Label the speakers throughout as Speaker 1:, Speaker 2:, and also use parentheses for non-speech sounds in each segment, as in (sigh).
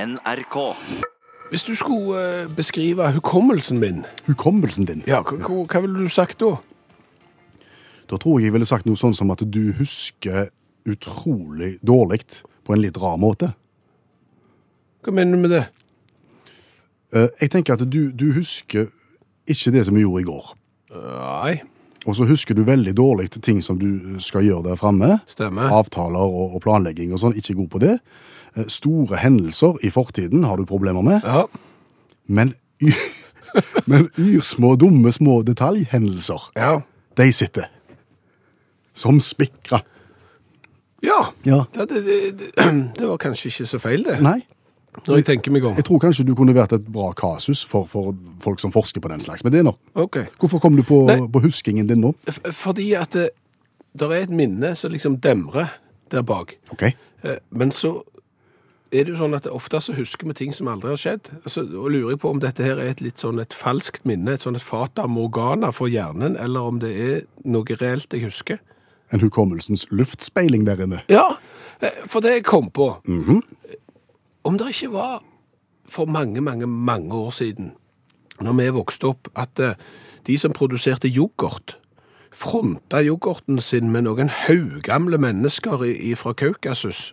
Speaker 1: NRK.
Speaker 2: Hvis du skulle eh, beskrive hukommelsen min,
Speaker 3: Hukommelsen din.
Speaker 2: ja, hva, hva hva ville du sagt da?
Speaker 3: Da tror jeg jeg ville sagt noe sånn som at du husker utrolig dårlig på en litt rar måte.
Speaker 2: Hva mener du med det?
Speaker 3: Eh, Jeg tenker at du, du husker ikke det som vi gjorde i går.
Speaker 2: Nei,
Speaker 3: Og så husker du veldig dårlig til ting som du skal gjøre der framme.
Speaker 2: Stemmer.
Speaker 3: Avtaler og, og planlegging og sånn. Ikke god på det. Eh, Store hendelser i fortiden har du problemer med.
Speaker 2: ja.
Speaker 3: Men, y (laughs) men yrsmå, dumme små detaljhendelser,
Speaker 2: Ja.
Speaker 3: de sitter. Som spikra.
Speaker 2: Ja,
Speaker 3: Ja.
Speaker 2: det, det, det, det (clears throat) var kanskje ikke så feil det,
Speaker 3: Nei,
Speaker 2: når jeg tenker meg om.
Speaker 3: jeg tror kanskje du kunne vært et bra kasus for, for folk som forsker på den slags. Men det nå.
Speaker 2: Ok.
Speaker 3: Hvorfor kom du på,
Speaker 2: Nei.
Speaker 3: på huskingen din nå?
Speaker 2: F- Fordi at det, der er et minne som liksom demrer der bak.
Speaker 3: Ok.
Speaker 2: Eh, Men så er det jo sånn at ofte så husker vi ting som aldri har skjedd. Altså, og lurer jeg på om dette her er et litt sånn et falskt minne, et sånn et fata morgana for hjernen, eller om det er noe reelt jeg husker.
Speaker 3: En hukommelsens luftspeiling der inne.
Speaker 2: Ja, eh, for det jeg kom på Om det ikke var for mange, mange, mange år siden, når vi vokste opp, at eh, de som produserte yoghurt, fronta yoghurten sin med noen haugamle mennesker i, i, fra Kaukasus,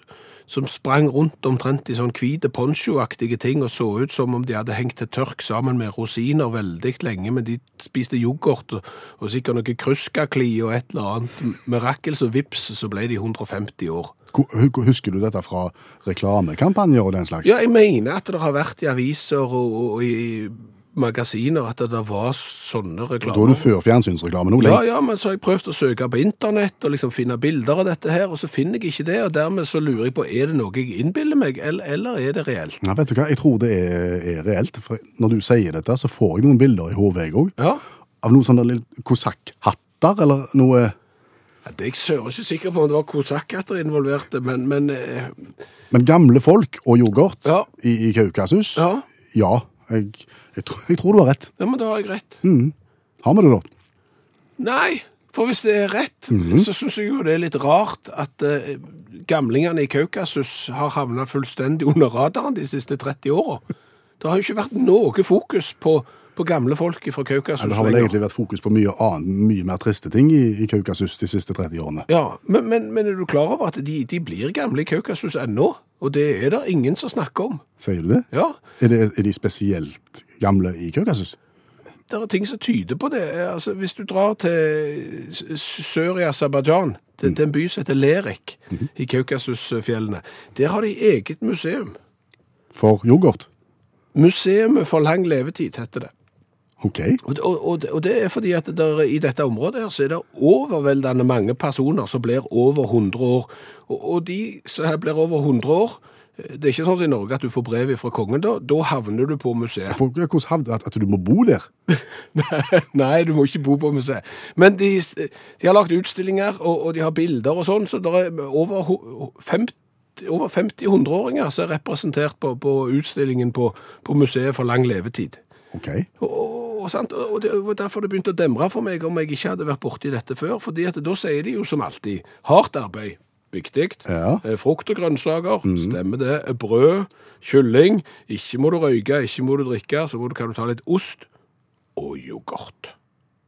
Speaker 2: som sprang rundt omtrent i sånn hvite ponchoaktige ting og så ut som om de hadde hengt til tørk sammen med rosiner veldig lenge, men de spiste yoghurt og, og sikkert noe kruskakli og et eller annet mirakel, så vips, så ble de 150 år.
Speaker 3: Hvor- hu- Husker du dette fra reklamekampanjer og den slags?
Speaker 2: Ja, jeg mener at det har vært i aviser og, og, og i magasiner at det var sånne
Speaker 3: Da er
Speaker 2: reklamer.
Speaker 3: du før fjernsynsreklamen. Ole.
Speaker 2: Ja, ja, men så har jeg prøvd å søke på internett og liksom finne bilder av dette her, og så finner jeg ikke det, og dermed så lurer jeg på, er det noe jeg innbiller meg, eller, eller er det reelt?
Speaker 3: Nei, vet du hva? Jeg tror det er, er reelt. For når du sier dette, så får jeg noen bilder i hodet jeg òg.
Speaker 2: Ja.
Speaker 3: Av noen sånne lille kosakkhatter eller noe
Speaker 2: Ja, Det er jeg søren ikke sikker på om det var kosakkatter involverte, men, men eh,
Speaker 3: Men gamle folk og yoghurt
Speaker 2: Ja.
Speaker 3: i, i Kaukasus?
Speaker 2: Ja.
Speaker 3: Ja, jeg, jeg, tror, jeg tror du har rett.
Speaker 2: ja, men da har jeg rett.
Speaker 3: Mm. Har vi det, da?
Speaker 2: Nei, for hvis det er rett,
Speaker 3: Mhm.
Speaker 2: så syns jeg jo det er litt rart at eh, gamlingene i Kaukasus har havna fullstendig under radaren de siste 30 åra. Det har jo ikke vært noe fokus på, på gamle folk fra Kaukasus.
Speaker 3: Det har vel
Speaker 2: lenger.
Speaker 3: egentlig vært fokus på mye annet, mye mer triste ting i, i Kaukasus de siste 30 årene.
Speaker 2: Ja, men, men, men er du klar over at de, de blir gamle i Kaukasus ennå? Og det er det ingen som snakker om.
Speaker 3: Sier du det?
Speaker 2: Ja,
Speaker 3: Er, det, er de spesielt gamle i Kaukasus?
Speaker 2: det er ting som tyder på det. Altså, hvis du drar til s- s- sør i Aserbajdsjan, til, til en by som heter Lerik i Kaukasusfjellene, der har de eget museum.
Speaker 3: For yoghurt?
Speaker 2: Museet for lang levetid heter det.
Speaker 3: OK.
Speaker 2: Og, og, og det- og det er fordi at der, i dette området her, så er det overveldende mange personer som blir over 100 år. Og, og de som her blir over 100 år, eh, det er ikke sånn som i Norge at du får brev fra kongen da, da havner du på museet.
Speaker 3: På, hvordan havnet at, at du må bo der?
Speaker 2: (laughs) Nei, du må ikke bo på museet. Men de, de har lagt utstillinger, og, og de har bilder og sånn, så det er over ho- 50 over 50 hundreåringer som er representert på, på utstillingen på, på Museet for lang levetid.
Speaker 3: OK.
Speaker 2: Og, og, og, sant? og det var derfor det begynte å demre for meg om jeg ikke hadde vært borti dette før. fordi at da sier de jo som alltid hardt arbeid. Viktig.
Speaker 3: Ja.
Speaker 2: Eh, Frukt og grønnsaker, stemmer det. Eh, Brød, kylling. Ikke må du røyke, ikke må du drikke. Så må du, kan du ta litt ost og yoghurt.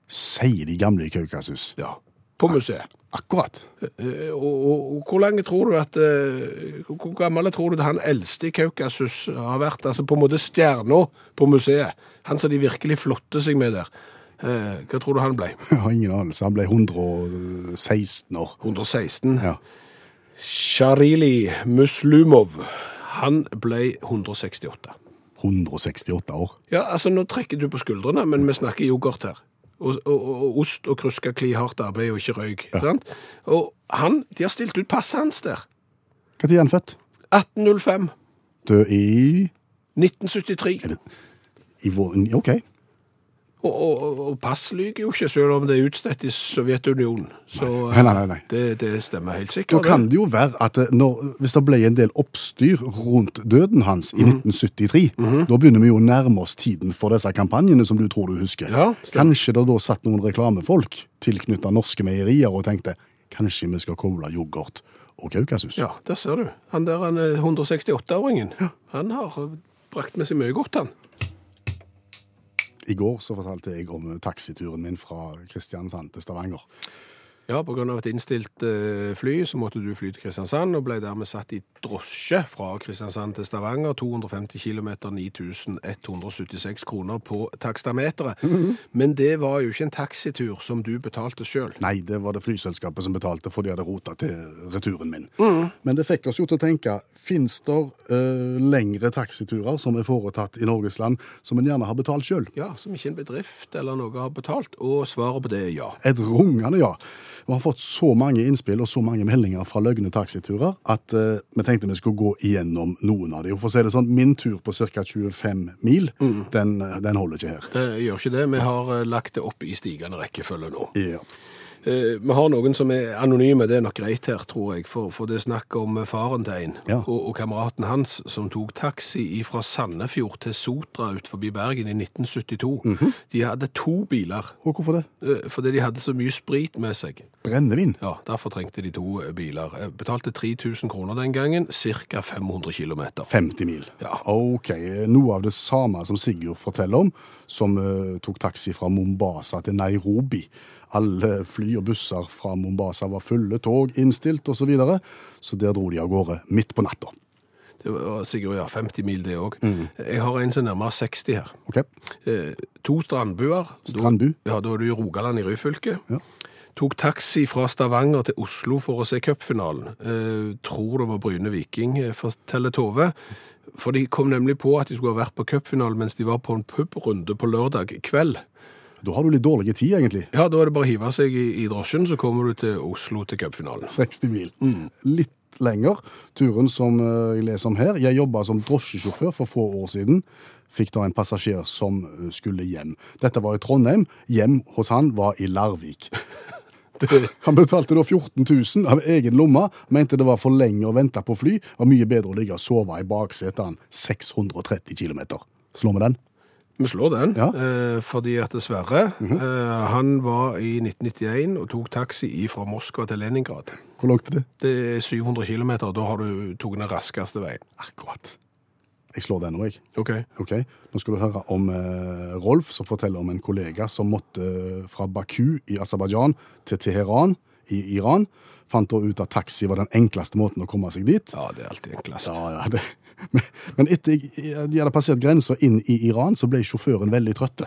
Speaker 3: sier de gamle i Kaukasus.
Speaker 2: Ja, På museet.
Speaker 3: Akkurat.
Speaker 2: Eh, Og, og, og hvor lenge tror du at eh, Hvor hvor gammel tror du det han eldste i Kaukasus har vært? Altså på en måte stjerna på museet. Han som de virkelig flotter seg med der. Eh, Hva tror du han ble?
Speaker 3: Jeg har ingen anelse. Han ble 116 år.
Speaker 2: 116.
Speaker 3: Ja.
Speaker 2: Sharili Muslumov. Han ble 168.
Speaker 3: 168 år.
Speaker 2: Ja, altså nå trekker du på skuldrene, men vi snakker yoghurt her. Og, og, og, og ost og kruska kli hardt arbeid og ikke røyk. Sant? Og han, de har stilt ut passet hans der.
Speaker 3: Når er han født?
Speaker 2: 1805.
Speaker 3: Død i
Speaker 2: 1973.
Speaker 3: i vår... OK.
Speaker 2: Og, og, og pass lyger jo ikke, selv om det er utstedt i Sovjetunionen. Så
Speaker 3: Nei, nei, nei. nei.
Speaker 2: Det, det stemmer helt
Speaker 3: Da
Speaker 2: sikkert.
Speaker 3: kan det jo være at det- når, hvis det ble en del oppstyr rundt døden hans i
Speaker 2: Mhm.
Speaker 3: 1973, da begynner vi jo å nærme oss tiden for disse kampanjene som du tror du husker.
Speaker 2: Ja, stemmer.
Speaker 3: kanskje det da satt noen reklamefolk tilknyttet norske meierier og tenkte kanskje vi skal koble yoghurt og Kaukasus.
Speaker 2: Ja, der ser du. Han der han eh, 168-åringen, han har eh, brakt med seg mye godt, han.
Speaker 3: I går så fortalte jeg om eh, taxituren min fra Kristiansand til Stavanger.
Speaker 2: Ja, på grunn av et innstilt eh, fly, så måtte du fly til Kristiansand, og ble dermed satt i drosje fra Kristiansand til Stavanger, 250 km, 9176 kroner på takstameteret. Men det var jo ikke en taxitur som du betalte selv.
Speaker 3: Nei, det var det flyselskapet som betalte, for de hadde rota til returen min. Men det fikk oss jo til å tenke, fins det eh, lengre taxiturer som er foretatt i Norges land, som en gjerne har betalt sjøl?
Speaker 2: Ja, som ikke en bedrift eller noe har betalt, og svaret på det er ja.
Speaker 3: Et rungende ja. Vi har fått så mange innspill og så mange meldinger fra løgne taxiturer at eh, vi tenkte vi skulle gå igjennom noen av dem. For å si det sånn, min tur på ca. 25 mil, den, eh, den holder ikke her.
Speaker 2: Det gjør ikke det. Vi har eh, lagt det opp i stigende rekkefølge nå.
Speaker 3: Ja.
Speaker 2: Eh, Vi har noen som er anonyme, det er nok greit her, tror jeg, for, for det er snakk om eh, faren til en
Speaker 3: Ja.
Speaker 2: og, og kameraten hans som tok taxi fra Sandefjord til Sotra ut forbi Bergen i 1972. De hadde to biler,
Speaker 3: Og hvorfor det?
Speaker 2: eh, fordi de hadde så mye sprit med seg.
Speaker 3: Brennevin.
Speaker 2: Ja, Derfor trengte de to eh, biler. Eh, Betalte 3000 kroner den gangen, ca. 500 km.
Speaker 3: 50 mil.
Speaker 2: Ja.
Speaker 3: Ok, Noe av det samme som Sigurd forteller om, som eh, tok taxi fra Mombasa til Nairobi. Alle fly og busser fra Mombasa var fulle, tog innstilt osv., så, videre. så der dro de av gårde midt på natta.
Speaker 2: Det var Sigurd, ja, 50 mil det òg. Jeg har en som er nærmere 60 her.
Speaker 3: Ok,
Speaker 2: Eh, To strandbuer.
Speaker 3: Strandbu.
Speaker 2: Ja, da er du i Rogaland i Ryfylke. Tok taxi fra Stavanger til Oslo for å se cupfinalen. Eh, tror det var Bryne Viking, eh, forteller Tove. For de kom nemlig på at de skulle ha vært på cupfinalen mens de var på en pubrunde på lørdag kveld.
Speaker 3: Da har du litt dårlig tid, egentlig.
Speaker 2: Ja, da er det bare å hive seg i, i drosjen, så kommer du til Oslo til cupfinalen.
Speaker 3: 60 mil. Litt lenger. Turen som eh, jeg leser om her. Jeg jobba som drosjesjåfør for få år siden. Fikk da en passasjer som eh, skulle hjem. Dette var i Trondheim. Hjem hos han var i Larvik. (laughs) Han betalte da 14 000 av egen lomme. Mente det var for lenge å vente på fly. Var mye bedre å ligge og sove i baksetet. han. 630 km. Slår vi den?
Speaker 2: Vi slår den,
Speaker 3: Ja. Mhm.
Speaker 2: eh, fordi at Sverre eh, han var i 1991 og tok taxi fra Moskva til Leningrad.
Speaker 3: Hvor langt er det?
Speaker 2: Det er 700 km, da har du tatt den raskeste veien.
Speaker 3: Akkurat. Jeg slår den nå, jeg.
Speaker 2: Ok.
Speaker 3: Ok, Nå skal du høre om eh, Rolf, som forteller om en kollega som måtte eh, fra Baku i Aserbajdsjan til Teheran i Iran. Fant da ut at taxi var den enkleste måten å komme seg dit.
Speaker 2: Ja, det er alltid enklest.
Speaker 3: Ja, ja, det. (laughs) Men- Men etter eh, de hadde passert grensa inn i Iran, så ble sjåføren veldig trøtt.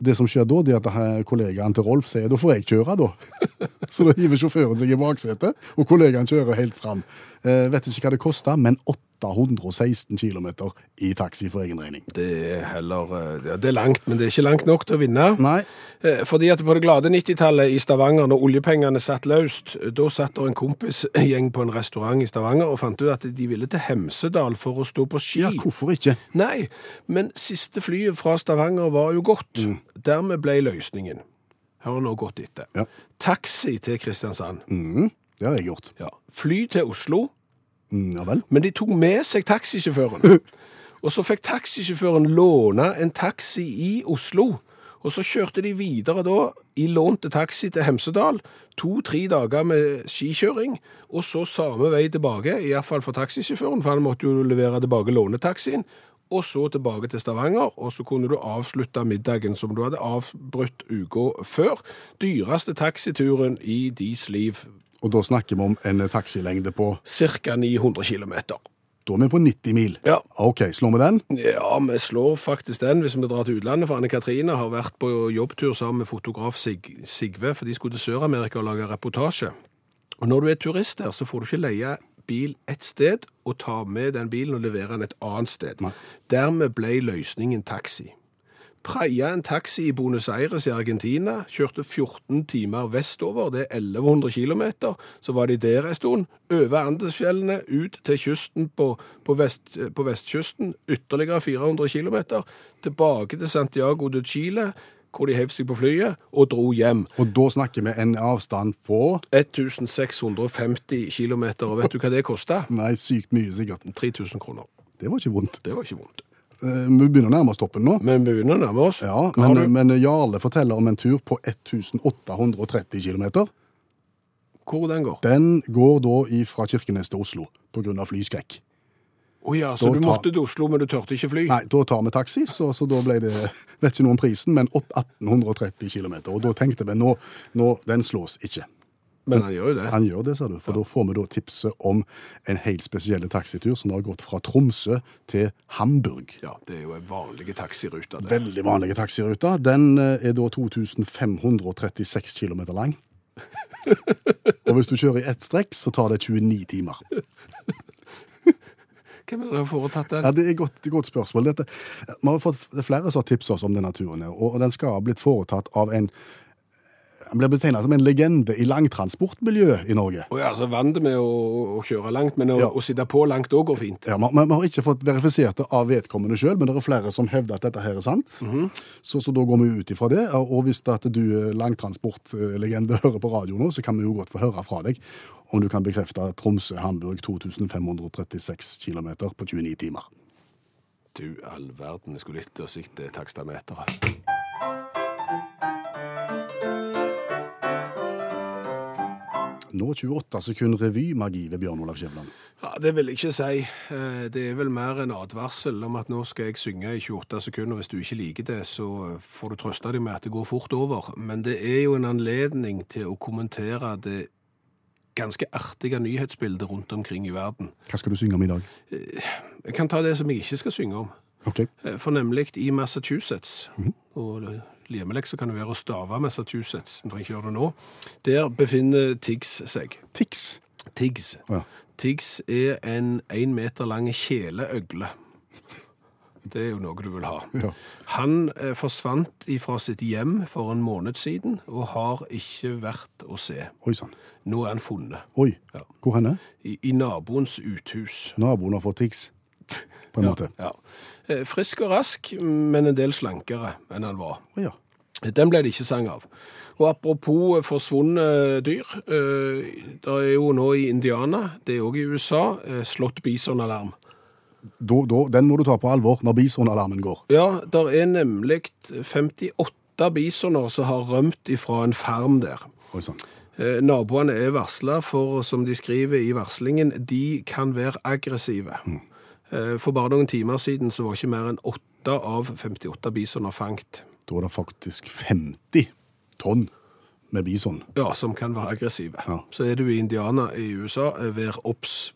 Speaker 3: Det som skjer da, det er at her kollegaen til Rolf sier da får jeg kjøre, da. (laughs) Så da hiver sjåføren seg i baksetet, og kollegaen kjører helt fram. Eh, vet ikke hva det kosta, men 816 km i taxi for egen regning.
Speaker 2: Det er heller eh, ja, Det er langt, men det er ikke langt nok til å vinne.
Speaker 3: Nei,
Speaker 2: Eh, Fordi at på det glade 90-tallet i Stavanger, når oljepengene satt løst, eh, da satt der en kompisgjeng på en restaurant i Stavanger og fant ut at de ville til Hemsedal for å stå på ski.
Speaker 3: Ja, hvorfor ikke?
Speaker 2: Nei, men siste flyet fra Stavanger var jo godt. Dermed ble løsningen. Hør nå godt etter.
Speaker 3: Ja.
Speaker 2: Taxi til Kristiansand.
Speaker 3: Mhm, det har jeg gjort.
Speaker 2: Ja. Fly til Oslo.
Speaker 3: Mm, ja vel.
Speaker 2: Men de tok med seg taxisjåføren. (laughs) Og så fikk taxisjåføren låne en taxi i Oslo. Og så kjørte de videre da i lånte taxi til Hemsedal. To-tre dager med skikjøring, og så samme vei tilbake. Iallfall for taxisjåføren, for han måtte jo levere tilbake lånetaxien. Og så tilbake til Stavanger, og så kunne du avslutte middagen som du hadde avbrutt uka før. Dyreste taxituren i deres liv.
Speaker 3: Og da snakker vi om en taxilengde på
Speaker 2: Ca. 900 km.
Speaker 3: Da er vi på 90 mil.
Speaker 2: Ja.
Speaker 3: OK, slår vi den?
Speaker 2: Ja, vi slår faktisk den hvis vi drar til utlandet, for Anne-Katrine har vært på jobbtur sammen med fotograf Sig Sigve, for de skulle til Sør-Amerika og lage reportasje. Og når du er turist der, så får du ikke leie bil ett sted, og ta med den bilen og levere den et annet sted. Dermed ble løsningen taxi. Preia en taxi i Buenos Aires i Argentina, kjørte 14 timer vestover, det er 1100 km. Så var de der en stund, over Andesfjellene, ut til kysten på, på, vest, på vestkysten, ytterligere 400 km. Tilbake til Santiago de Chile, hvor de hev seg på flyet, og dro hjem.
Speaker 3: Og da snakker vi en avstand på
Speaker 2: 1650 km, og vet du hva det kosta?
Speaker 3: Nei, sykt mye, sikkert.
Speaker 2: 3000 kroner.
Speaker 3: Det var ikke vondt.
Speaker 2: Det var ikke vondt.
Speaker 3: Eh, Vi begynner å nærme oss toppen nå.
Speaker 2: Men vi begynner å nærme oss.
Speaker 3: Ja,
Speaker 2: Hva har
Speaker 3: men,
Speaker 2: du?
Speaker 3: men Jarle forteller om en tur på 1830 km.
Speaker 2: Hvordan går?
Speaker 3: Den går da fra Kirkenes til Oslo pga. flyskrekk.
Speaker 2: Å ja, så
Speaker 3: Da
Speaker 2: du
Speaker 3: tar-
Speaker 2: måtte til Oslo, men du tørte ikke fly?
Speaker 3: Nei, da tar vi taxi, så, så da ble det (laughs) vet ikke noe om prisen, men 8 1830 km. Og da tenkte vi nå, nå den slås ikke.
Speaker 2: Men han gjør jo det.
Speaker 3: Han gjør det, sa du, for da får vi da tipset om en helt spesiell taxitur som har gått fra Tromsø til Hamburg.
Speaker 2: Ja, det er jo en vanlig taxirute. det.
Speaker 3: Veldig vanlige taxiruta. Den eh, er da 2536 km lang. (laughs) Og hvis du kjører i ett strekk, så tar det 29 timer.
Speaker 2: Hvem er det som har foretatt den?
Speaker 3: Ja, Det er et godt, det er godt spørsmål. Dette, vi har fått det er flere som har tipset oss om denne turen, her, og og den skal ha blitt foretatt av en Han blir betegnet som en legende i langtransportmiljøet i Norge.
Speaker 2: Å ja, så vant vi å, å kjøre langt, men å,
Speaker 3: Ja.
Speaker 2: å sitte på langt òg går fint.
Speaker 3: Ja, men men Vi har ikke fått verifisert det av vedkommende sjøl, men det er flere som hevder at dette her er sant. så, så da går vi ut ifra det. Og hvis det at du eh, langtransportlegende eh, hører på radio nå, så kan vi jo godt få høre fra deg om du kan bekrefte Tromsø-Hamburg 2536 km på 29 timer.
Speaker 2: Du all verden, jeg skulle lytte og sitte takstameteret.
Speaker 3: Nå 28 sekunder revymagi ved Bjørn Olav Skjævland.
Speaker 2: Ja, det vil jeg ikke si. Eh, Det er vel mer en advarsel om at nå skal jeg synge i 28 sekunder. Hvis du ikke liker det, så får du trøste deg med at det går fort over. Men det er jo en anledning til å kommentere det ganske artige nyhetsbildet rundt omkring i verden.
Speaker 3: Hva skal du synge om i dag?
Speaker 2: Jeg kan ta det som jeg ikke skal synge om.
Speaker 3: Ok,
Speaker 2: Eh, For nemlig i Massachusetts, og lemelek liksom, så kan det være å stave Massachusetts, men trenger ikke gjøre det nå, der befinner Tiggs seg.
Speaker 3: Tix.
Speaker 2: Tiggs.
Speaker 3: Å ja.
Speaker 2: Tiggs er en én meter lang kjeleøgle. Det er jo noe du vil ha.
Speaker 3: Ja.
Speaker 2: Han eh, forsvant fra sitt hjem for en måned siden, og har ikke vært å se.
Speaker 3: Oi sann.
Speaker 2: Nå er han funnet
Speaker 3: Oi.
Speaker 2: Ja.
Speaker 3: Hvor henne?
Speaker 2: i, i naboens uthus.
Speaker 3: Naboen har fått Tix, på en måte.
Speaker 2: Ja. Eh, Frisk og rask, men en del slankere enn han var.
Speaker 3: Å ja.
Speaker 2: Den ble det ikke sang av. Og apropos eh, forsvunne dyr, eh, det er jo nå i Indiana, det er òg i USA, eh, slått bisonalarm.
Speaker 3: Da, da, den må du ta på alvor når bisonalarmen går.
Speaker 2: Ja, der er nemlig 58 bisoner som har rømt ifra en farm der.
Speaker 3: Oi sånn. sann.
Speaker 2: Eh, Naboene er varsla for, som de skriver i varslingen, de kan være aggressive. Eh, For bare noen timer siden så var ikke mer enn 8 av 58 bisoner fangt.
Speaker 3: Da er det faktisk 50 tonn med bison.
Speaker 2: Ja, som kan være aggressive.
Speaker 3: Ja.
Speaker 2: Så er du i Indiana i USA, eh, vær obs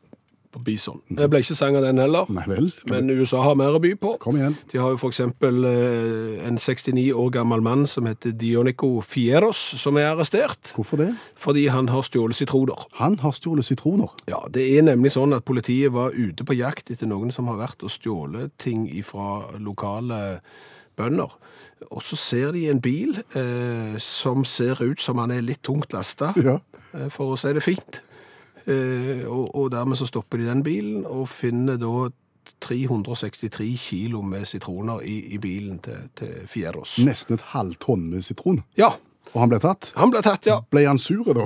Speaker 2: på bison. Jeg ble ikke sang av den heller,
Speaker 3: Mm. Nei vel?
Speaker 2: men USA har mer å by på.
Speaker 3: Kom igjen.
Speaker 2: De har jo for eksempel eh, en 69 år gammel mann som heter Dionico Fieros, som er arrestert
Speaker 3: Hvorfor det?
Speaker 2: fordi han har stjålet sitroner.
Speaker 3: Han har stjålet (laughs) sitroner.
Speaker 2: Ja, det er nemlig sånn at politiet var ute på jakt etter noen som har vært og stjålet ting fra lokale bønder. Og så ser de en bil eh, som ser ut som han er litt tungt lasta,
Speaker 3: Ja.
Speaker 2: eh, for å si det fint. Eh, og, og dermed så stopper de den bilen og finner da 363 kilo med sitroner i, i bilen til, til Fieros.
Speaker 3: Nesten et halvt tonn med sitron.
Speaker 2: Ja,
Speaker 3: Og han ble tatt.
Speaker 2: han ble tatt, ja.
Speaker 3: Ble han sur da?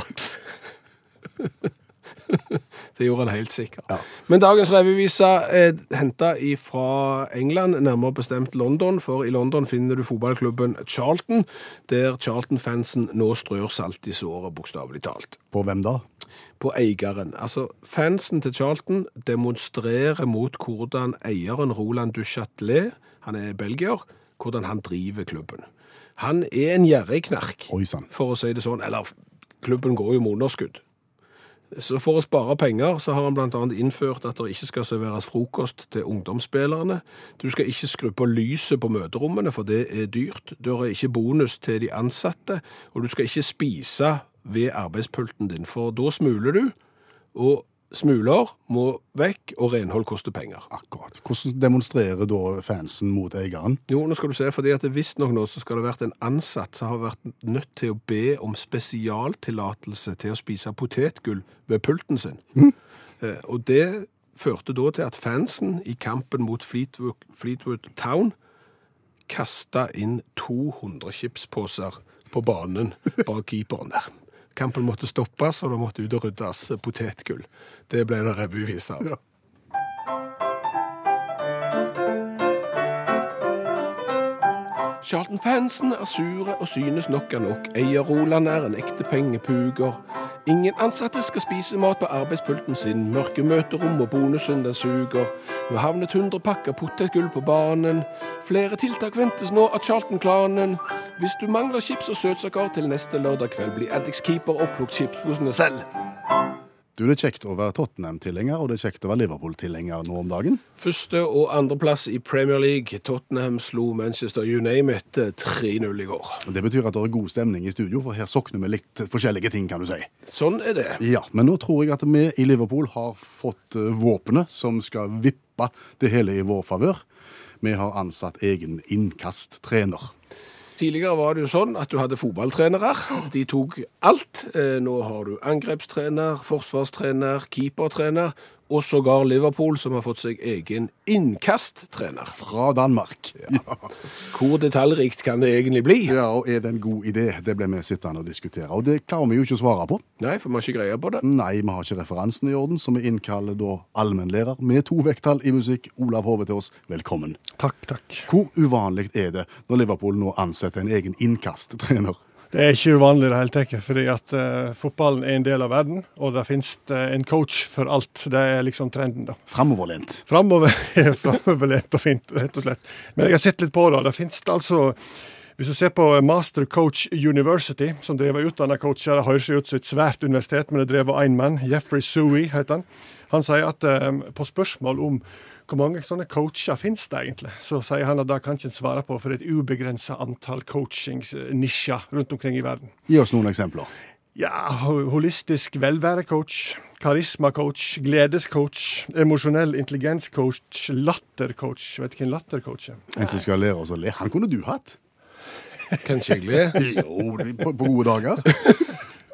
Speaker 2: Det gjorde han helt sikkert. Men dagens revyvise er henta fra England, nærmere bestemt London. For i London finner du fotballklubben Charlton, der Charlton-fansen nå strør salt i såret, bokstavelig talt.
Speaker 3: På hvem da?
Speaker 2: På eieren. Altså, fansen til Charlton demonstrerer mot hvordan eieren Roland Duchatelet, han er belgier, hvordan han driver klubben. Han er en gjerrig knark
Speaker 3: Oi sann.
Speaker 2: for å si det sånn, eller klubben går jo med underskudd. Så for å spare penger så har han blant annet innført at det ikke skal serveres frokost til ungdomsspillerne. Du skal ikke skru på lyset på møterommene, for det er dyrt. Det er ikke bonus til de ansatte, og du skal ikke spise ved arbeidspulten din, for da smuler du, og smuler må vekk, og renhold koster penger.
Speaker 3: Akkurat. Hvordan demonstrerer da fansen mot eieren?
Speaker 2: Jo, nå skal du se, fordi at det visstnok nå så skal det ha vært en ansatt som har vært nødt til å be om spesialtillatelse til å spise potetgull ved pulten sin. Eh, og det førte da til at fansen i kampen mot Fleetwood, Fleetwood Town kasta inn 200 chipsposer på banen bak keeperen der. Kampen måtte stoppes, og det måtte ut og ryddes potetgull. Det ble det revyvise av. Charlton Fansen er sure og synes nok er nok. Eier Roland er en ekte pengepuger. Ingen ansatte skal spise mat på arbeidspulten sin. Mørke møterom og bonusen den suger. Nå havnet 100 pakker potetgull på banen. Flere tiltak ventes nå av Charlton-klanen. Hvis du mangler chips og søtsaker til neste lørdag kveld, blir Addicts keeper og plukk chipsposene selv.
Speaker 3: Du, Det er kjekt å være Tottenham-tilhenger, og det er kjekt å være Liverpool-tilhenger nå om dagen.
Speaker 2: Første- og andreplass i Premier League. Tottenham slo Manchester you name it 3-0 i går.
Speaker 3: Det betyr at det er god stemning i studio, for her sokner vi litt forskjellige ting, kan du si.
Speaker 2: Sånn er det.
Speaker 3: Ja, men nå tror jeg at vi i Liverpool har fått eh, våpenet som skal vippe det hele i vår favør. Vi har ansatt egen innkasttrener.
Speaker 2: Tidligere var det jo sånn at du hadde fotballtrenere. De tok alt. Eh, Nå har du angrepstrener, forsvarstrener, keepertrener, og sågar Liverpool, som har fått seg egen innkasttrener.
Speaker 3: Fra Danmark. Ja.
Speaker 2: Hvor detaljrikt kan det egentlig bli?
Speaker 3: (laughs) ja, og er det en god idé? Det ble vi sittende og diskutere. Og det klarer vi jo ikke å svare på.
Speaker 2: Nei, for vi har ikke greie på det.
Speaker 3: Nei, vi har ikke referansen i orden, så vi innkaller da allmennlærer med to vekttall i musikk, Olav Hove, til oss. Velkommen.
Speaker 1: Takk, takk.
Speaker 3: Hvor uvanlig er det når Liverpool nå ansetter en egen innkasttrener?
Speaker 1: Det er ikke uvanlig i det hele tatt, fordi at eh, fotballen er en del av verden, og det finnes eh, en coach for alt. Det er liksom trenden, da.
Speaker 3: Framoverlent.
Speaker 1: Framover (laughs) er framoverlent og fint, rett og slett. Men jeg har sett litt på det, og det finnes det altså hvis du ser på Master Coach University, som driver og utdanner coacher, det høres jo ut som et svært universitet, men det drev av én mann, Jeffrey Sui heter han. Han sier at eh, på spørsmål om hvor mange sånne coacher finnes det egentlig, så sier han at det kan ikke en svare på, for det er et ubegrensa antall coachingsnisjer rundt omkring i verden.
Speaker 3: Gi oss noen eksempler.
Speaker 1: Ja, ho- holistisk velværecoach, karismacoach, gledescoach, emosjonell intelligenscoach, lattercoach. Vet ikke hvem lattercoach er.
Speaker 3: En som skal lære oss å le. Han kunne du hatt.
Speaker 2: Kan ikke jeg le?
Speaker 3: Jo, på, på gode dager.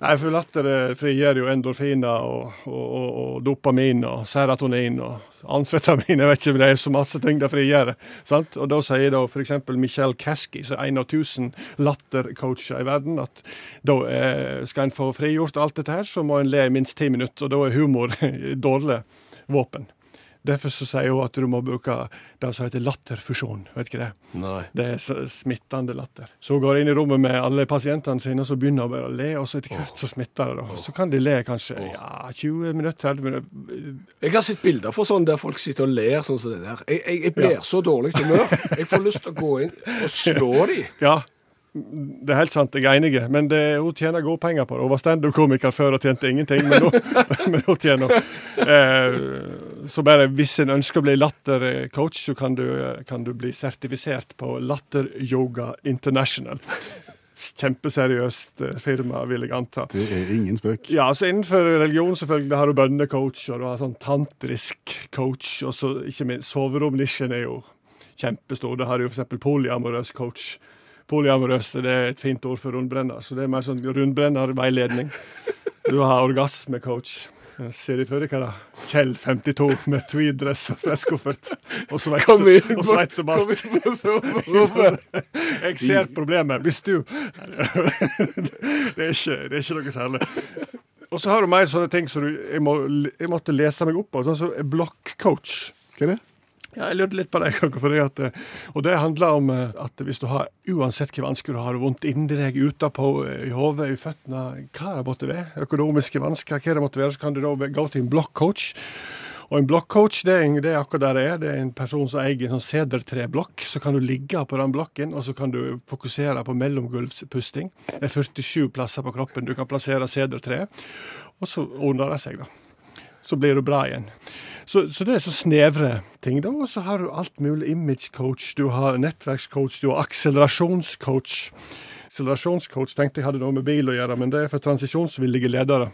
Speaker 1: Nei, for latter eh, frigjør jo endorfiner og, og, og, og dopamin og serotonin og amfetamin. Jeg vet ikke, men det er så masse ting det frigjør. Sant? Og da sier da f.eks. Michelle Kaski, som er en av 1000 lattercoacher i verden, at da eh, skal en få frigjort alt dette her, så må en le i minst ti minutter. Og da er humor (laughs) dårlig våpen. Derfor så sier hun at du må bruke det som heter latterfusjon. Vet ikke det?
Speaker 2: Nei.
Speaker 1: Det er så- smittende latter. Så går jeg inn i rommet med alle pasientene sine, og så begynner jeg bare å le, og så etter hvert så smitter det. da. Så kan de le kanskje ja, 20 minutter, 30 minutter.
Speaker 2: Jeg har sett bilder fra sånn der folk sitter og ler sånn som det der. Jeg, jeg, jeg blir så dårlig humør. Jeg får lyst til å gå inn og slå (laughs) de.
Speaker 1: Ja, det er helt sant, jeg er enig, men det, hun tjener gode penger på det. Hun var standup-komiker før og tjente ingenting, men nå- (laughs) men hun tjener eh, Så bare hvis en ønsker å bli lattercoach, så kan du, kan du bli sertifisert på Latter Yoga International. Kjempeseriøst eh, firma, vil jeg anta.
Speaker 3: Det er ingen spøk.
Speaker 1: Ja, så innenfor religion selvfølgelig har du bønnecoach, og du har sånn tantrisk coach, og så ikke minst soveromnisjen er jo kjempestor. Da har du jo for eksempel polyamorøs coach. Polyamorøs det er et fint ord for rundbrenner, så det er mer sånn rundbrennerveiledning. Du har orgasmecoach. Ser de for deg hva da? Kjell 52 med tweeddress og stresskoffert. Og svette-
Speaker 2: Kom inn
Speaker 1: og
Speaker 2: på-
Speaker 1: svettebart.
Speaker 2: kom inn på soverommet.
Speaker 1: Jeg ser problemet. Hvis du Det er ikke, det er ikke noe særlig. Og så har du mer sånne ting som du, jeg, må, jeg måtte lese meg opp på. Sånn som blokkcoach.
Speaker 3: Hva er det?
Speaker 1: Ja, jeg lurte litt på det. (laughs) Kåre, Fordi at, eh, og det handler om eh, at hvis du har uansett hvor vansker du har, vondt inni deg, utapå, eh, i hodet, i føttene, hva det måtte være, økonomiske vansker, hva det måtte være, så kan du da gå til en blokkcoach. Og en blokkcoach det er, en- det er akkurat der det er. Det er en person som eier en sånn sedertreblokk. Så kan du ligge på den blokken, og så kan du fokusere på mellomgulvspusting. Det er 47 plasser på kroppen du kan plassere sedertreet, og så ordner det seg, da. Så blir du bra igjen. Så, så det er så snevre ting, da. Og så har du alt mulig image-coach, du har nettverkscoach, du har akselerasjonscoach. Akselerasjonscoach tenkte jeg hadde noe med bil å gjøre, men det er for transisjonsvillige ledere.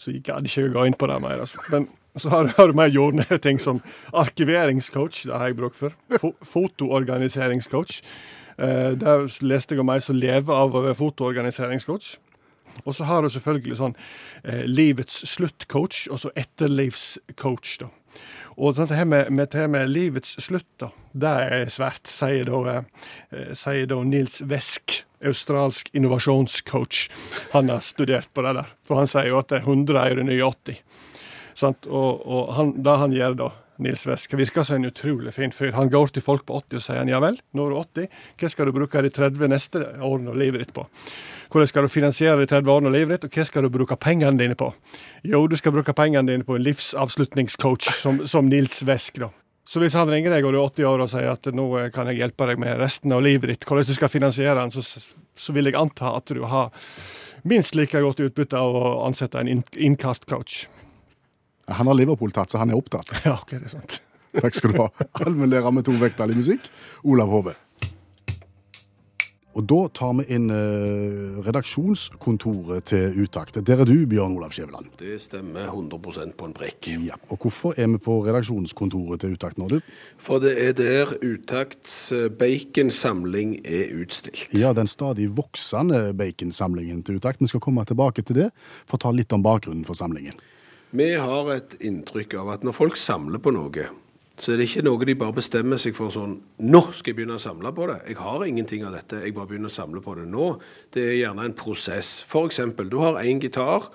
Speaker 1: Så jeg gadd ikke å gå inn på det mer. Altså. Men så har, har du mer jordnære ting som arkiveringscoach, det har jeg bruk for. Fo fotoorganiseringscoach. Eh, der leste jeg om ei som lever av å være fotoorganiseringscoach. Og så har du selvfølgelig sånn eh, livets slutt-coach, og så etterlivscoach, da. Og sånn det her med, med, det her med livets slutt, da, det er svært, sier da, eh, sier da Nils Wesk, australsk innovasjonscoach. Han har studert på det der. For han sier jo at det er 100 er jo det nye 80. Sant? Og, og han, det han gjør da, Nils Wesk. Virker som en utrolig fin fyr. Han går til folk på 80 og sier han, ja vel, nå er du 80, hva skal du bruke de 30 neste årene av livet ditt på? Hvordan skal du finansiere de 30 årene av livet ditt, og hva skal du bruke pengene dine på? Jo, du skal bruke pengene dine på en livsavslutningscoach som, som Nils Wesk, da. Så hvis han ringer deg og du er 80 år og sier at nå eh, kan jeg hjelpe deg med resten av livet ditt, hvordan du skal finansiere den, så, så vil jeg anta at du har minst like godt utbytte av å ansette en inn- innkastcoach.
Speaker 3: Han har Liverpool-tatt, så han er opptatt.
Speaker 1: (laughs) Ja, ok, det er sant.
Speaker 3: Takk skal du ha. Allmennlærer med to vekttall i musikk, Olav Hove. Og da tar vi inn eh, redaksjonskontoret til Utakt. Der er du, Bjørn Olav Skjæveland.
Speaker 2: Det stemmer 100 på en prikk.
Speaker 3: Ja. Og hvorfor er vi på redaksjonskontoret til Utakt nå, du?
Speaker 2: For det er der Utakts eh, baconsamling er utstilt.
Speaker 3: Ja, den stadig voksende baconsamlingen til Utakt. Vi skal komme tilbake til det, for å ta litt om bakgrunnen for samlingen.
Speaker 2: Vi har et inntrykk av at når folk samler på noe, så er det ikke noe de bare bestemmer seg for sånn Nå skal jeg begynne å samle på det. Jeg har ingenting av dette, jeg bare begynner å samle på det nå. Det er gjerne en prosess. F.eks. du har én gitar.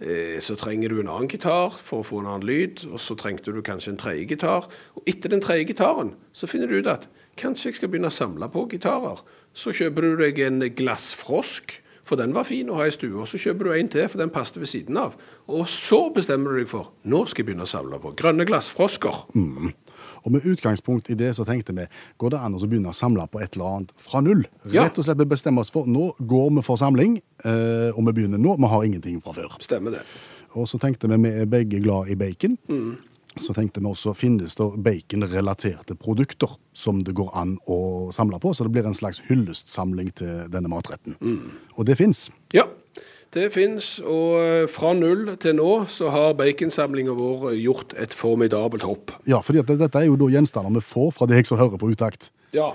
Speaker 2: eh, Så trenger du en annen gitar for å få en annen lyd, og så trengte du kanskje en tredje gitar. Og etter den tredje gitaren så finner du ut at kanskje jeg skal begynne å samle på gitarer. Så kjøper du deg en glassfrosk, for den var fin å ha i stua. Så kjøper du en til, for den passet ved siden av. Og så bestemmer du deg for nå skal jeg begynne å samle på grønne glassfrosker.
Speaker 3: Og med utgangspunkt i det så tenkte vi, går det an å så begynne å samle på et eller annet fra null?
Speaker 2: Ja.
Speaker 3: Rett og slett vi bestemmer oss for, nå går vi for samling, eh, og vi begynner nå, vi har ingenting fra før.
Speaker 2: Stemmer det.
Speaker 3: Og så tenkte vi, vi er begge glad i bacon. Så tenkte vi også, finnes det bacon-relaterte produkter som det går an å samle på? Så det blir en slags hyllestsamling til denne matretten. Og det fins.
Speaker 2: Ja, det fins. Og eh, fra null til nå så har baconsamlinga vår eh, gjort et formidabelt hopp.
Speaker 3: Ja, fordi at dette er jo da gjenstander vi får fra deg som hører på utakt.
Speaker 2: Ja,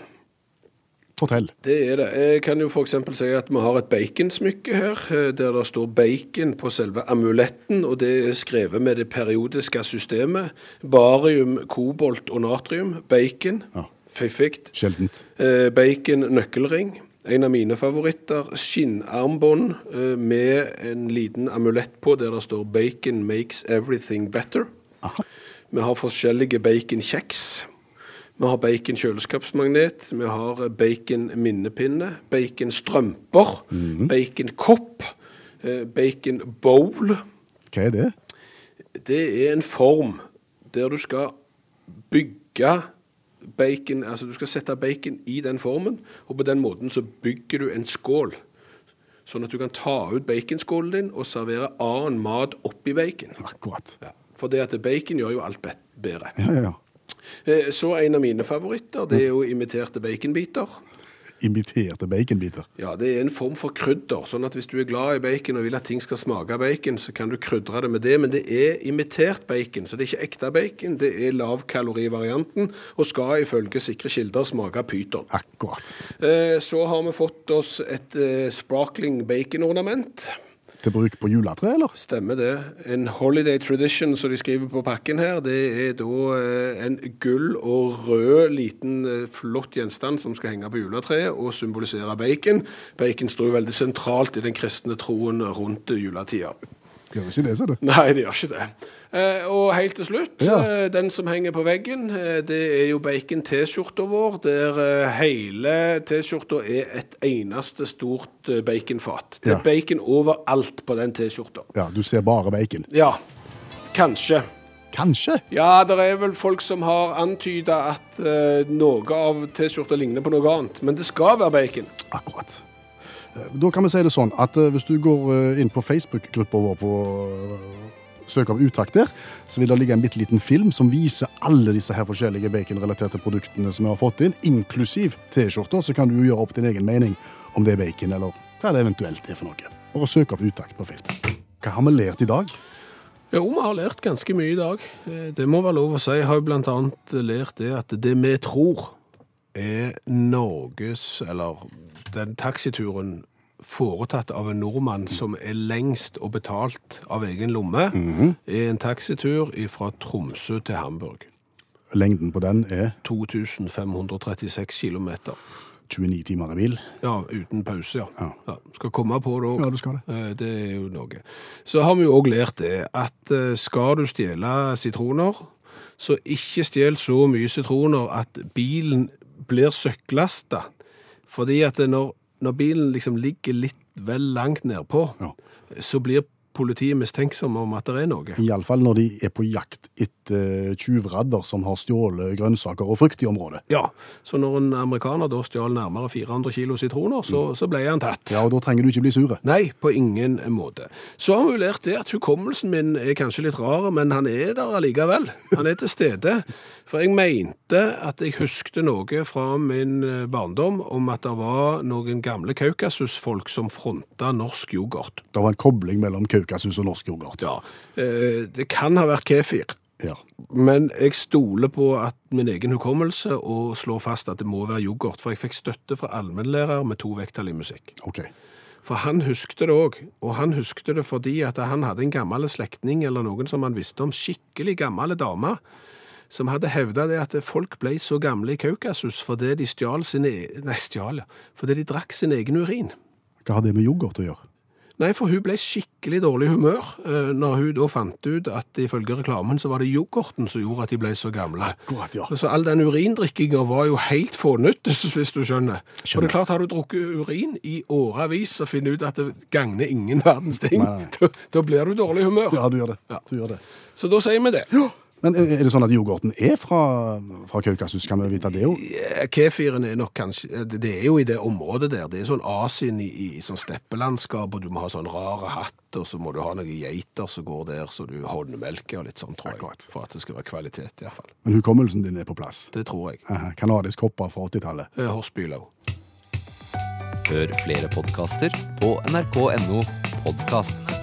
Speaker 3: Fortell.
Speaker 2: det er det. Jeg kan jo f.eks. si at vi har et baconsmykke her, eh, der det står bacon på selve amuletten. Og det er skrevet med det periodiske systemet. Barium, kobolt og natrium. Bacon.
Speaker 3: Ja.
Speaker 2: Fiffig.
Speaker 3: Sjeldent.
Speaker 2: Eh, Bacon nøkkelring, en av mine favoritter. Skinnarmbånd eh, med en liten amulett på der det står 'Bacon makes everything better'. Vi har forskjellige baconkjeks. Vi har bacon kjøleskapsmagnet, vi har eh, bacon minnepinne, bacon strømper, bacon kopp, eh, bacon bowl.
Speaker 3: Hva er det?
Speaker 2: Det er en form der du skal bygge bacon, altså du skal sette bacon i den formen, og på den måten så bygger du en skål. Sånn at du kan ta ut baconskålen din og servere annen mat oppi bacon.
Speaker 3: Akkurat.
Speaker 2: Ja. For det at bacon gjør jo alt be- bedre.
Speaker 3: Ja, ja, ja.
Speaker 2: Eh, Så en av mine favoritter, det er jo imiterte baconbiter.
Speaker 3: Imiterte baconbiter.
Speaker 2: Ja, det er en form for krydder. Sånn at hvis du er glad i bacon og vil at ting skal smake av bacon, så kan du krydre det med det. Men det er imitert bacon, så det er ikke ekte bacon. Det er lavkalorivarianten og skal ifølge sikre kilder smake av pyton.
Speaker 3: Akkurat.
Speaker 2: Eh, Så har vi fått oss et eh, sparkling bacon-ornament.
Speaker 3: Til bruk på juletre, eller?
Speaker 2: Stemmer det. En holiday tradition, som de skriver på pakken her, det er da eh, en gull og rød liten eh, flott gjenstand som skal henge på juletreet og symbolisere bacon. Bacon står jo veldig sentralt i den kristne troen rundt juletida. (laughs)
Speaker 3: Gjør ikke det, sa du.
Speaker 2: Nei, det gjør ikke det. Eh, Og helt til slutt,
Speaker 3: Ja.
Speaker 2: eh, den som henger på veggen, eh, det er jo bacon-T-skjorta vår, der eh, hele T-skjorta er et eneste stort eh, baconfat. Det
Speaker 3: Ja.
Speaker 2: er bacon overalt på den T-skjorta.
Speaker 3: Ja, du ser bare bacon.
Speaker 2: Ja, kanskje.
Speaker 3: Kanskje.
Speaker 2: Ja, det er vel folk som har antyda at eh, noe av T-skjorta ligner på noe annet, men det skal være bacon.
Speaker 3: Akkurat. Eh, Da kan vi si det sånn at eh, hvis du går eh, inn på Facebook-gruppa vår på eh, Søk om utakt der, så vil det ligge en bitte liten film som viser alle disse her forskjellige baconrelaterte produktene som vi har fått inn, inklusiv T-skjorter. Så kan du jo gjøre opp din egen mening om det er bacon, eller hva det eventuelt er for noe. Bare søk opp utakt på Facebook. Hva har vi lært i dag?
Speaker 2: Jo, vi har lært ganske mye i dag. Eh, Det må være lov å si. Jeg har jo bl.a. lært det at det vi tror er Norges, eller den taxituren, foretatt av en nordmann som er lengst og betalt av egen lomme, er en taxitur fra Tromsø til Hamburg.
Speaker 3: Lengden på den er
Speaker 2: 2536 kilometer.
Speaker 3: 29 timer i bil.
Speaker 2: Ja, uten pause, ja. ja. Skal komme på det òg.
Speaker 3: Ja, du skal det.
Speaker 2: Det er eh, jo noe. Så har vi jo òg lært det at eh, skal du stjele sitroner, Så ikke stjel så mye sitroner at bilen blir søkklasta. Fordi at det når, når bilen liksom ligger litt vel langt nedpå,
Speaker 3: Ja.
Speaker 2: så blir politiet mistenksomme om at det er noe.
Speaker 3: Iallfall når de er på jakt etter tjuvradder som har stjålet grønnsaker og frukt i området.
Speaker 2: Ja, Så når en amerikaner da stjal nærmere 400 kilo sitroner, så, så ble han tatt.
Speaker 3: Ja, og Da trenger du ikke bli sure.
Speaker 2: Nei, på ingen måte. Så har vi jo lært det at hukommelsen min er kanskje litt rar, men han er der allikevel. Han er til stede. For jeg mente at jeg huskte noe fra min eh, barndom om at det var noen gamle Kaukasus-folk som fronta norsk yoghurt.
Speaker 3: Det var en kobling mellom Kaukasus og norsk yoghurt.
Speaker 2: Ja, eh, det kan ha vært kefir.
Speaker 3: Ja.
Speaker 2: Men jeg stoler på at min egen hukommelse og slår fast at det må være yoghurt, for jeg fikk støtte fra allmennlærer med to vekttall i musikk.
Speaker 3: OK.
Speaker 2: For han huskte det òg, og han huskte det fordi at han hadde en gammel slektning eller noen som han visste om, skikkelig gammel dame, som hadde hevda det at folk ble så gamle i Kaukasus fordi de stjal sine e- Nei, stjal, ja. Fordi de drakk sin egen urin.
Speaker 3: Hva har det med yoghurt å gjøre?
Speaker 2: Nei, for hun ble skikkelig dårlig humør eh, når hun da fant ut at ifølge reklamen så var det yoghurten som gjorde at de ble så gamle.
Speaker 3: Akkurat, ja.
Speaker 2: Så all den urindrikkinga var jo helt fånyttes, (laughs) hvis du skjønner. Og det
Speaker 3: Skjønner.
Speaker 2: er klart, har du drukket urin i årevis og finner ut at det gagner ingen (laughs) verdens ting,
Speaker 3: Nei.
Speaker 2: da, da blir du dårlig humør.
Speaker 3: Ja, du gjør det. Du gjør det.
Speaker 2: Så da sier vi det.
Speaker 3: Men er er det sånn at yoghurten er fra, fra Kaukasus? Kan vi vite det òg?
Speaker 2: Eh, Kefiren er nok kanskje eh, Det det er jo i det området der. Det er sånn Asien i, i sånn steppelandskap, og du må ha sånn rare hatt, og så må du ha noen geiter som går der, så du håndmelker og litt sånn, tror jeg.
Speaker 3: Akkurat.
Speaker 2: For at det skal være kvalitet, iallfall.
Speaker 3: Men hukommelsen din er på plass.
Speaker 2: Det tror jeg.
Speaker 3: Aha, Kanadisk hopper fra 80-tallet.
Speaker 2: Eh, Horsbylo.
Speaker 4: Hør flere podkaster på nrk.no podkast.